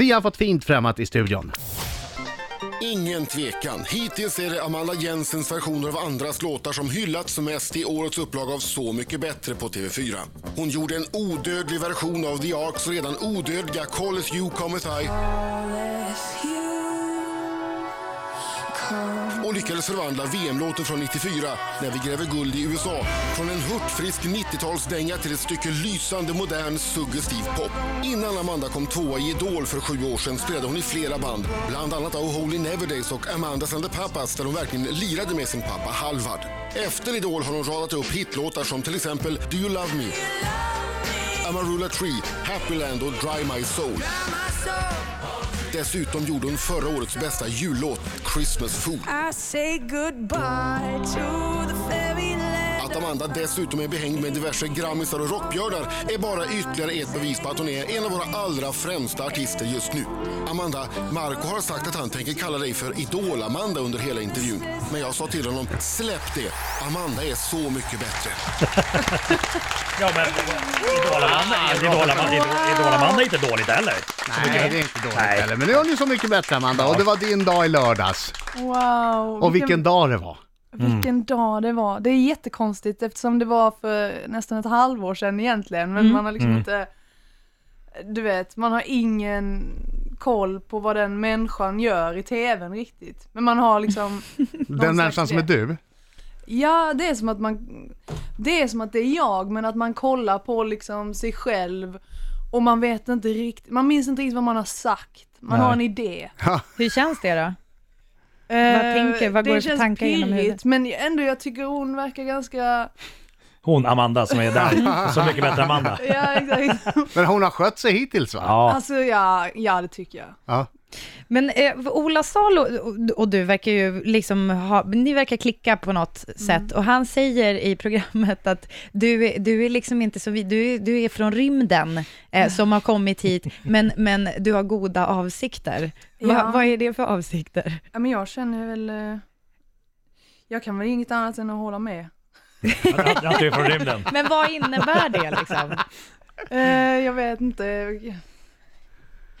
Vi har fått fint främmat i studion. Ingen tvekan. Hittills är det Amanda Jensens versioner av andras låtar som hyllats mest i årets upplaga av Så mycket bättre på TV4. Hon gjorde en odödlig version av The Arks redan odödliga Call If You Cometh I och lyckades förvandla VM-låten från 94, När vi gräver guld i USA, från en hurtfrisk 90-talsdänga till ett stycke lysande, modern, suggestiv pop. Innan Amanda kom tvåa i Idol för sju år sedan spelade hon i flera band, bland annat Oh Holy Never Days och Amandas and the Papas, där hon verkligen lirade med sin pappa Halvard. Efter Idol har hon radat upp hitlåtar som till exempel Do You Love Me, Amarula Tree, Happyland och Dry My Soul. Dessutom gjorde hon förra årets bästa jullåt, Christmas Food. I say goodbye to the fairy land. Att Amanda dessutom är behängd med diverse grammisar och rockbjörnar är bara ytterligare ett bevis på att hon är en av våra allra främsta artister just nu. Amanda, Marco har sagt att han tänker kalla dig för Idol-Amanda under hela intervjun. Men jag sa till honom, släpp det! Amanda är så mycket bättre. Ja men Idol-Amanda Idol-Amanda- Idol- Idol-Amanda är inte dåligt heller. Nej, det är inte dåligt Nej. heller. Men nu har ni Så mycket bättre Amanda och det var din dag i lördags. Wow. Och vilken dag det var. Vilken dag det var. Det är jättekonstigt eftersom det var för nästan ett halvår sedan egentligen. Mm. Men man har liksom inte, du vet, man har ingen koll på vad den människan gör i tvn riktigt. Men man har liksom... Den människan som är du. Ja, det är som att man... Det är som att det är jag, men att man kollar på liksom sig själv och man vet inte riktigt, man minns inte riktigt vad man har sagt. Man har en idé. Hur känns det då? Vad tänker- vad går Eh, det för känns tankar genom pirrigt, huvudet? Men ändå, jag tycker hon verkar ganska... Hon Amanda som är där. Så mycket bättre Amanda. Ja, exakt. Men hon har skött sig hittills va? Ja. Alltså ja, ja det tycker jag. Ja. Men eh, Ola Salo och, och du verkar ju liksom ha, ni verkar klicka på något sätt och han säger i programmet att du, är- du är liksom inte så, vi- du, är- du är från rymden eh, som har kommit hit, men, men du har goda avsikter. Va, Ja. vad är det för avsikter? Ja, men jag känner väl... eh, Jag kan väl inget annat än att hålla med. Att, att du är från rymden. Men vad innebär det liksom? Eh, jag vet inte.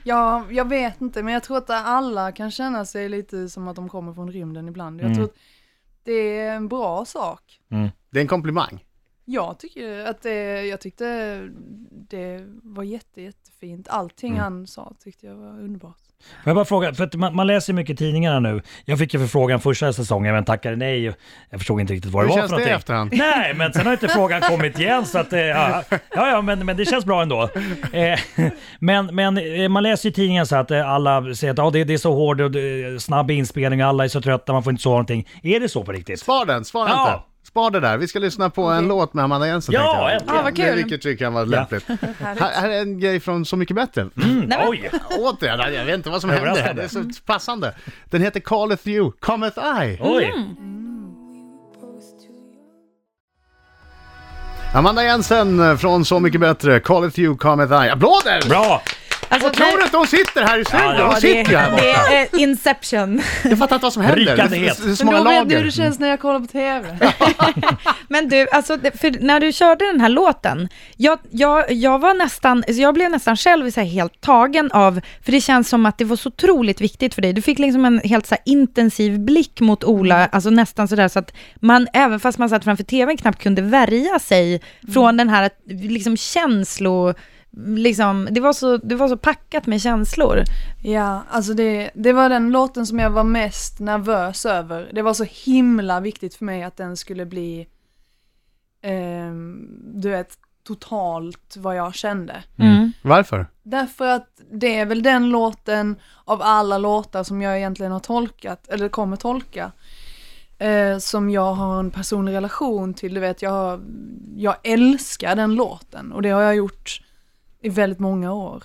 Ja, jag vet inte, men jag tror att alla kan känna sig lite som att de kommer från rymden ibland. Jag tror att det är en bra sak. Det är en komplimang. Jag tycker att det, jag tyckte det var jätte, jättefint. Allting han sa tyckte jag var underbart. Får jag bara fråga, för att man, man läser ju mycket i tidningarna nu. Jag fick ju förfrågan första säsongen men tackade nej. och Jag förstod inte riktigt vad det Hur var känns för det i någonting. efterhand? Nej, men sen har inte frågan kommit igen så att eh, ja, ja, ja men, men det känns bra ändå. Eh, men, men eh, man läser i tidningen så att eh, alla säger att ja det, det är så hård och eh, snabb inspelning och alla är så trötta, man får inte sova någonting. Är det så på riktigt? Spar den, spara Ja. inte. Spar det där. Vi ska lyssna på en låt med Amanda Jensen Ja, tänkte jag. äntligen. Ja, vad kul. Med Vilket tycker jag var lämpligt. Här, här är en grej från Så mycket bättre. Mm. Nej, men- Oj! Återigen, jag vet inte vad som händer här. Det är så passande. Den heter Calleth You, Cometh I. Oj! Amanda Jensen från Så Mycket Bättre, Calleth You, Cometh I. Applåder! Bra! Alltså, Och tror du nej, att hon sitter här i studion? Ja, ja, hon sitter ju här det borta. är eh, Inception. Jag fattar inte vad som händer. Det, Rykande det, het. det är så Men många då vet ni hur lager. det känns när jag kollar på TV. Men du, alltså, det- för när du körde den här låten, jag, jag, jag, var nästan, alltså, jag blev nästan själv så här helt tagen av, för det känns som att det var så otroligt viktigt för dig. Du fick liksom en helt så här intensiv blick mot Ola, alltså nästan sådär så att man, även fast man satt framför TVn, knappt kunde värja sig från den här liksom känslo... Liksom, det, var så, det var så packat med känslor. Ja, alltså det, det var den låten som jag var mest nervös över. Det var så himla viktigt för mig att den skulle bli, ehm, du vet, totalt vad jag kände. Mm. Mm. Varför? Därför att det är väl den låten av alla låtar som jag egentligen har tolkat, eller kommer tolka, eh, som jag har en personlig relation till. Du vet, jag, jag älskar den låten och det har jag gjort i väldigt många år.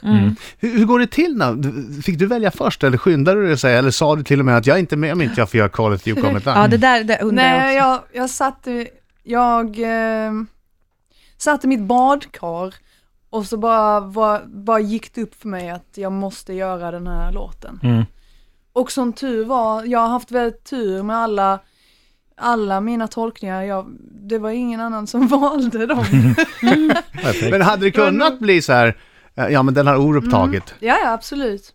Hur, hur går det till när, du- fick du välja först eller skyndade du dig att säga, eller sa du till och med att jag är inte med om inte jag får göra Calleth You, Cometh I? Ja, det där det undrar jag också. Nej, jag, jag satt i, jag eh, satt i mitt badkar och så bara, var, bara gick det upp för mig att jag måste göra den här låten. Mm. Och som tur var, jag har haft väldigt tur med alla, alla mina tolkningar. Jag, det var ingen annan som valde dem. Men hade det kunnat bli så här, eh, ja men den har Orup tagit. ja, ja, absolut.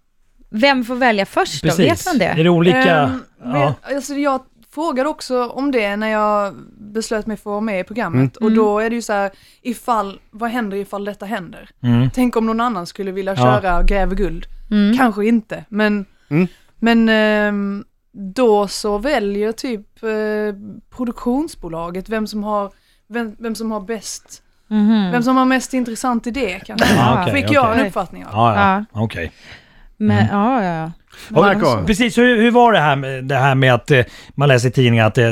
Vem får välja först då? Precis. Vet man Är det? det olika? Ehm, men, ja. alltså, jag frågade också om det när jag beslöt mig för att vara med i programmet Mm. och då är det ju så här, ifall, vad händer ifall detta händer? Mm. Tänk om någon annan skulle vilja Ja. Mm. köra Gräver guld? Mm. Kanske inte, men, Mm. men ehm, då så väljer typ eh, produktionsbolaget vem som har vem, vem som har bäst, Mhm. vem som har mest intressant idé kanske. Ah, okej, Fick jag okej. en uppfattning av. Ja, ja. Okej. Men, ja, ja, ja. Mm. Marco, Precis, hur, hur var det här, med, det här med att eh, man läser i tidningen att eh,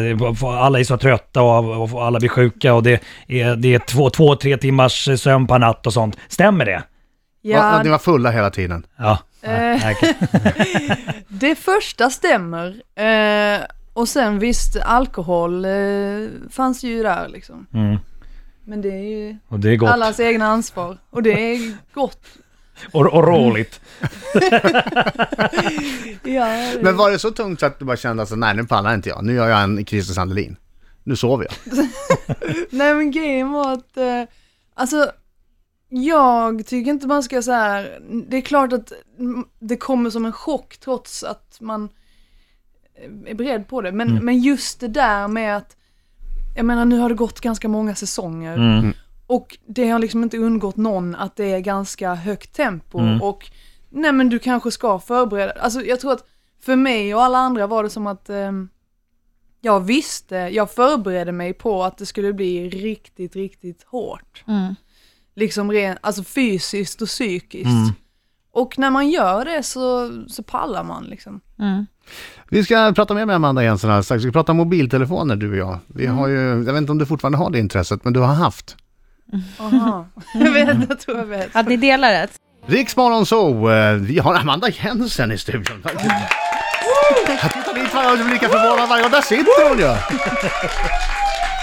alla är så trötta och, och alla blir sjuka och det är, det är två, två, tre timmars eh, sömn per natt och sånt. Stämmer det? ja. Ja, ni var fulla hela tiden. Ja. Eh. Nej, okej. Det första stämmer. Eh, och sen visst, alkohol eh, fanns ju där liksom. Mm. Men det är ju Och det är gott. allas egna ansvar. Och det är gott. Och, och roligt. Ja, det- Men var det så tungt så att du bara kände att nej nu pallar inte jag, nu gör jag en Christer Sandelin. Nu sover jag. Nej men grejen var att, eh, alltså jag tycker inte man ska så här. det är klart att mm, det kommer som en chock trots att man eh, är beredd på det. Men, men just det där med att, jag menar nu har det gått ganska många säsonger. Och det har liksom inte undgått någon att det är ganska högt tempo och nej men du kanske ska förbereda, alltså jag tror att för mig och alla andra var det som att ehm, jag visste, jag förberedde mig på att det skulle bli riktigt, riktigt hårt. Mm. Liksom ren, alltså fysiskt och psykiskt. Mm. Och när man gör det så, så pallar man liksom. Mm. Vi ska prata mer med Amanda Jensen alldeles strax. Vi ska prata mobiltelefoner du och jag. Vi Mm. har ju, jag vet inte om du fortfarande har det intresset, men du har haft. Aha. jag vet, jag tror jag vet. Att ni delar det? Riksmorgon så, eh, vi har Amanda Jensen i studion. Jag tittar dit varje gång och blir lika förvånad varje gång. Där sitter hon ju!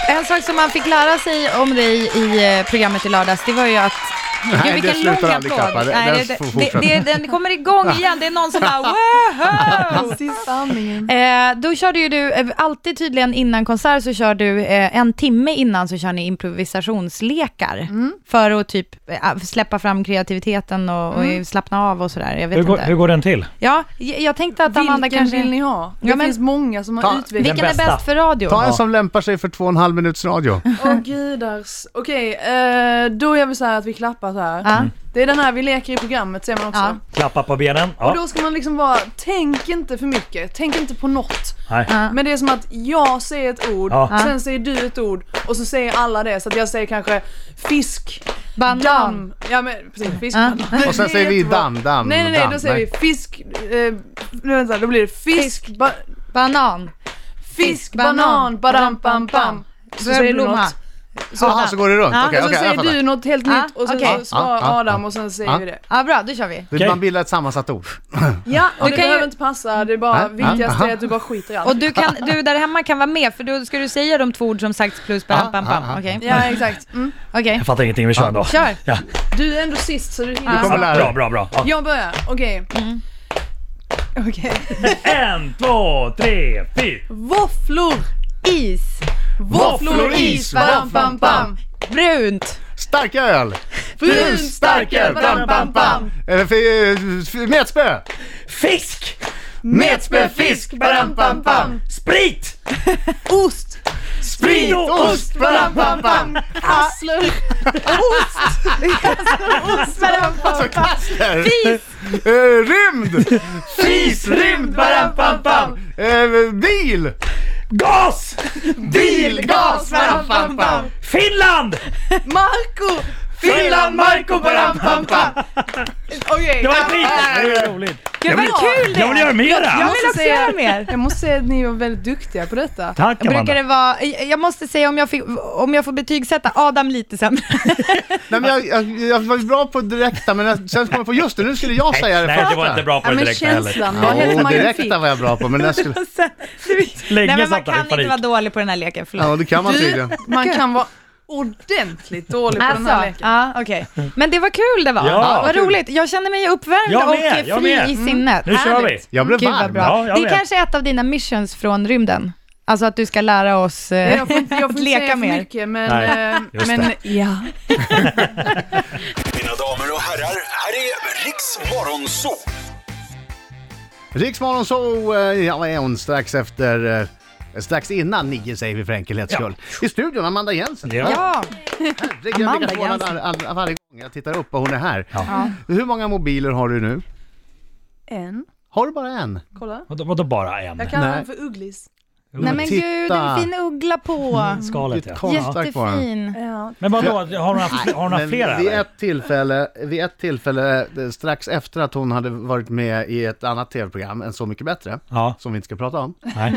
En sak som man fick lära sig om dig i eh, programmet i lördags, det var ju att Nej, det slutar aldrig klappa. Det- den Nej, det, får det, fortsätta. det, den kommer igång igen. Det är någon som bara wow! Sista andningen. Eh, då körde ju du, eh, alltid tydligen innan konsert så kör du, eh, en timme innan så kör ni improvisationslekar. För att typ eh, släppa fram kreativiteten och, och slappna av och sådär. Jag vet Hur, går, inte. hur går den till? Ja, jag, jag tänkte att Amanda Vilken kanske... vill ni ha? Det Ja, men- finns många som har Ta- utvecklat vilken är bästa? bäst för radio? Ta en som lämpar sig för två och en halv minuts radio. Åh gudars. Okej, eh, då gör vi så här att vi klappar så här. Ja. Det är den här vi leker i programmet ser man också. Ja. Klappa på benen? Och Ja. då ska man liksom bara, tänk inte för mycket, tänk inte på något. Nej. Men det är som att jag säger ett ord, Ja. sen säger du ett ord och så säger alla det. Så att jag säger kanske fisk, Banan. damm. Ja men precis, fisk, Ja. banan. Det- Och sen det är säger vi jättebra. damm, damm, Nej nej nej, då damm. säger vi fisk, eh, nu vänta, då blir det fisk, ba, Banan. fisk, banan, badam, pam, pam. Så säger du Rödblomma. något. Jaha, så går det runt? Ja, Okej, Och så okej, jag säger fattar. du något helt Ja, nytt och sen okej. så svarar Ja, ja, Adam och sen säger Ja. vi det. Ja, bra, då kör vi. Det- Okej. Man bildar ett sammansatt ord. Ja, och Du det kan ju- behöver inte passa, det är bara Ja, viktigast ja, är att du bara skiter i allt. Och du, kan, du där hemma kan vara med, för då ska du säga de två ord som sagts plus bam, bam, Ah, ah, bam. ah. Okej, Ja exakt. Mm. okej. Jag fattar ingenting, vi kör ändå. Kör. Ja. Du är ändå sist så du hinner. kommer lära dig. Bra, bra, bra. Ja. Jag börjar, okej. Okej. En, två, tre, fyra. Våfflor, Is. våfflor, is, badam, bam, bam. Brunt. Starka öl! Brunt, starköl, badam, bam, bam. Eh, för- för- Metspö! Fisk! Metspöfisk, badam, bam, bam. Sprit! Ost, Sprit och ost! badam, bam, bam. Kassler, ost. Kassler, ost, badam, bam. Fis. Eh, Rymd! Fis, rymd, badam, bam, bam. Eh, Bil! Gas! Bil, Gas, badam, bam, bam. Finland! Marco, Finland, Marco, badam, bam, bam. okej. Det var skit! Det var roligt. Gud vad kul det Jag vill göra Jag mera! vill också säga- göra mer. Jag måste säga att ni var väldigt duktiga på detta. Tack Brukar Amanda. det vara, jag måste säga om jag, fick, om jag får betygsätta Adam lite sämre. Nej, men jag, jag, jag var ju bra på direkta, men jag, sen kom jag på just det, nu skulle jag säga det Nej, det var inte bra på Ja, det men direkt heller. känslan, det var helt Jo, magnifik. direkta var jag bra på, men jag skulle... Sen- Länge Nej men man satt han i kan inte panik. vara dålig på den här leken, förlåt. Ja, det kan man Du, tydligen. man kan vara ordentligt dålig på den här Alltså, leken. ja, okej. Men det var kul det var. Ja. vad roligt. Jag känner mig uppvärmd Jag och med, eh, jag fri med. Mm. i sinnet. Nu kör vi. Jag blev Gud vad varm. bra. Ja, jag det är med. kanske är ett av dina missions från rymden. Alltså att du ska lära oss Nej, eh, Jag får inte, jag får att inte säga leka för mer. mycket, men, Nej, eh, just men ja. Mina damer och herrar, här är Riks Morgonzoo! Riksmorgon så eh, ja, är hon strax efter... eh, Strax innan nio säger vi för enkelhets Ja. skull. I studion, Amanda Jensen. Ja. Ja, Herregud, jag blir Amanda förvånad all, Jensen. all, all, varje gång jag tittar upp och hon är här. Ja. Hur många mobiler har du nu? En, Har du bara en? kolla. Vadå, vadå bara en? Jag kallar Nej. den för Ugglis. nej men Mm. Titta. gud, en fin uggla på. Skalet Ditt Mm, ja. kon- Konstigt tack vare. Jättefin. Ja. Men vadå, har hon haft, har hon haft Men flera vid eller? ett, tillfälle, vid ett tillfälle, eh, strax efter att hon hade varit med i ett annat tv-program, än Så Mycket Bättre, Ja, som vi inte ska prata om, nej.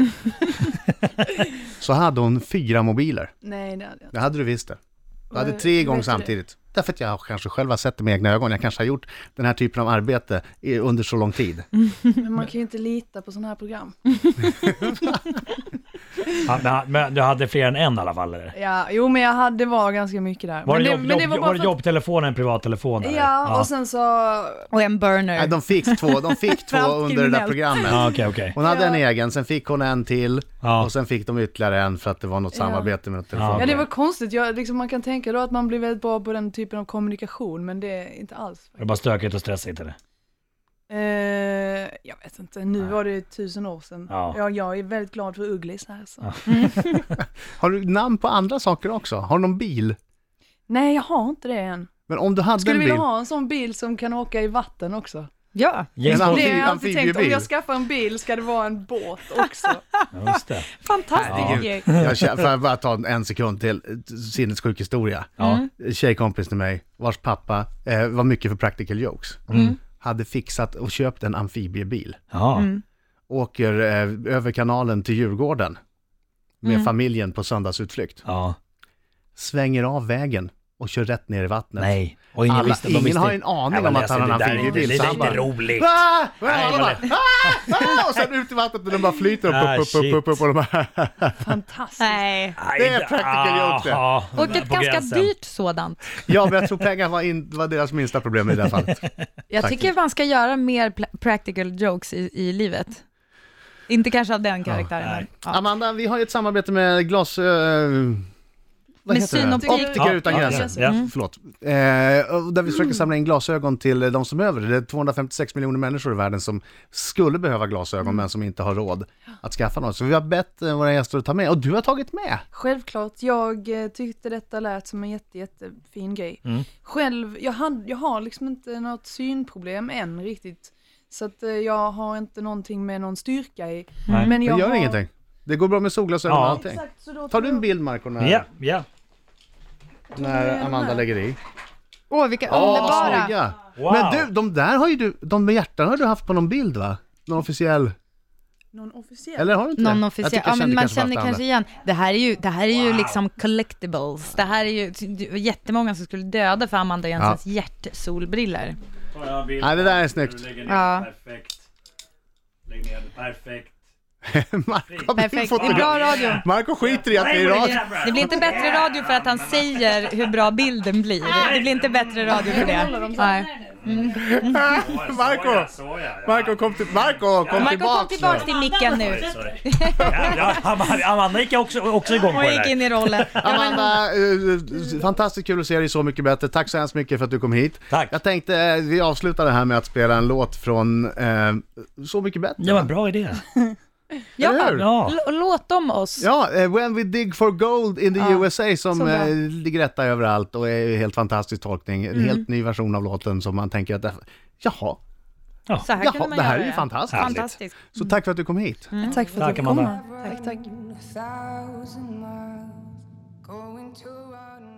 så hade hon fyra mobiler. Nej, det hade jag inte. Det hade du visst det. Du hade Vad- tre Eh, igång vet du det? samtidigt. Därför att jag kanske själv har sett det med egna ögon. Jag kanske har gjort den här typen av arbete i- under så lång tid. Mm. Men man kan ju inte lita på sådana här program. Ja, men- Men du hade fler än en i alla fall eller? Ja, jo men jag hade, det var ganska mycket där. Var men det, jobb, men jobb, var det jobbtelefon eller privattelefon? Ja, eller? och sen så... Och en Nej, burner. de fick två, de fick två Allt under det där kriminellt. programmet. Ja, okej, okej. Hon hade en egen, sen fick hon en till Ja. och sen fick de ytterligare en för att det var något Ja. samarbete med något Ja. telefon. Ja det var konstigt, jag, liksom, man kan tänka då att man blir väldigt bra på den typen av kommunikation men det är inte alls. Var det bara stökigt och stressigt eller? Eh, jag vet inte, nu var det tusen år sedan. Ja. Ja. jag är väldigt glad för Ugglis här så. Har du namn på andra saker också? Har du någon bil? Nej jag har inte det än. Men om du hade Skulle en bil... vilja ha en sån bil som kan åka i vatten också. Ja, James Men Bond? Det har jag alltid amfibiebil. tänkt, om jag skaffar en bil ska det vara en båt också. Ja, just det. fantastiskt Ja. grej. Jag känner, får jag bara ta en sekund till eh, sinnessjuk historia. Ja. Mm. Tjejkompis till mig, vars pappa eh, var mycket för practical jokes, Mm. Mm. hade fixat och köpt en amfibiebil. Ja. Åker eh, över kanalen till Djurgården med Mm. familjen på söndagsutflykt. ja. Svänger av vägen och kör rätt ner i vattnet. Nej. Och ingen Alla- visste. de ingen visste- har en aning Nej, om men att han har alltså, en det där är amfibiebil, inte- så Det är han inte bara- roligt. Ah! Ah! Nej, Alla men bara, ah! Ah! Och sen ut i vattnet och den bara flyter upp, Ah, upp, upp, upp, upp, upp och de bara... Fantastiskt. Nej. Nej, Det är practical joke det. ja, Och där ett på ganska gränsen. dyrt sådant. Ja, men jag tror pengar var, in, var deras minsta problem i det här fallet. Jag Faktiskt. tycker man ska göra mer pla- practical jokes i, i livet. Inte kanske av den karaktären. men, nej. ja. Amanda, vi har ju ett samarbete med glas... eh, vad Med heter det? synoptik. Optiker Ja, utan ja, gränser. ja. Förlåt. Eh, och där vi försöker samla in glasögon till eh, de som behöver det. Det är 256 miljoner människor i världen som skulle behöva glasögon men som inte har råd att skaffa något. Så vi har bett eh, våra gäster att ta med, och du har tagit med! Självklart, jag eh, tyckte detta lät som en jätte, jättefin grej. Själv, jag, hade, jag har liksom inte något synproblem än riktigt. Så att eh, jag har inte någonting med någon styrka i. Nej. Men Det jag gör har... ingenting. Det går bra med solglasögon och Ja. allting. Exakt, så då Tar du en bild Marco när, Ja, ja. när Amanda lägger i? Åh, vilka Åh, underbara. snygga! Wow. Men du, de där har ju du, de med hjärtan har du haft på någon bild va? Någon officiell? Någon officiell? Eller har du inte Någon det? officiell, Jag tycker ja jag men kände man kanske känner bara kanske igen. Det här är ju, det här är ju liksom collectibles. Det här är ju det var jättemånga som skulle döda för Amanda Jensens hjärtsolbriller. Nej, det där är snyggt. Ja. Perfekt. Lägg ner det. Perfekt. Marco har blivit Perfekt, det är fotograf. bra radio. Marco skiter i att det är radio. Det blir inte bättre radio för att han säger hur bra bilden blir. Det blir inte bättre radio för det. Nej. Marco! Marco kom, till, Marco, kom Marco kom tillbaks! tillbaks till micken nu. Amanda gick också, också igång på Hon det gick där. in i rollen. Amanda, eh, fantastiskt kul att se dig Så Mycket Bättre. Tack så hemskt mycket för att du kom hit. Tack. Jag tänkte eh, vi avslutar det här med att spela en låt från eh, Så Mycket Bättre. Ja, men bra idé. Eller hur? Ja, Ja. l- låt om oss. Ja, eh, When We Dig For Gold in the Ja, USA som så bra. Mm. eh, ligger rätta överallt och är en helt fantastisk tolkning. En helt ny version av låten som man tänker att, det- jaha, Så här jaha kunde man det här göra är ju fantastiskt. Fantastiskt. Så tack för att du kom hit. Tack för Tack, att du Amanda. kom. Tack, tack. thousand miles going to run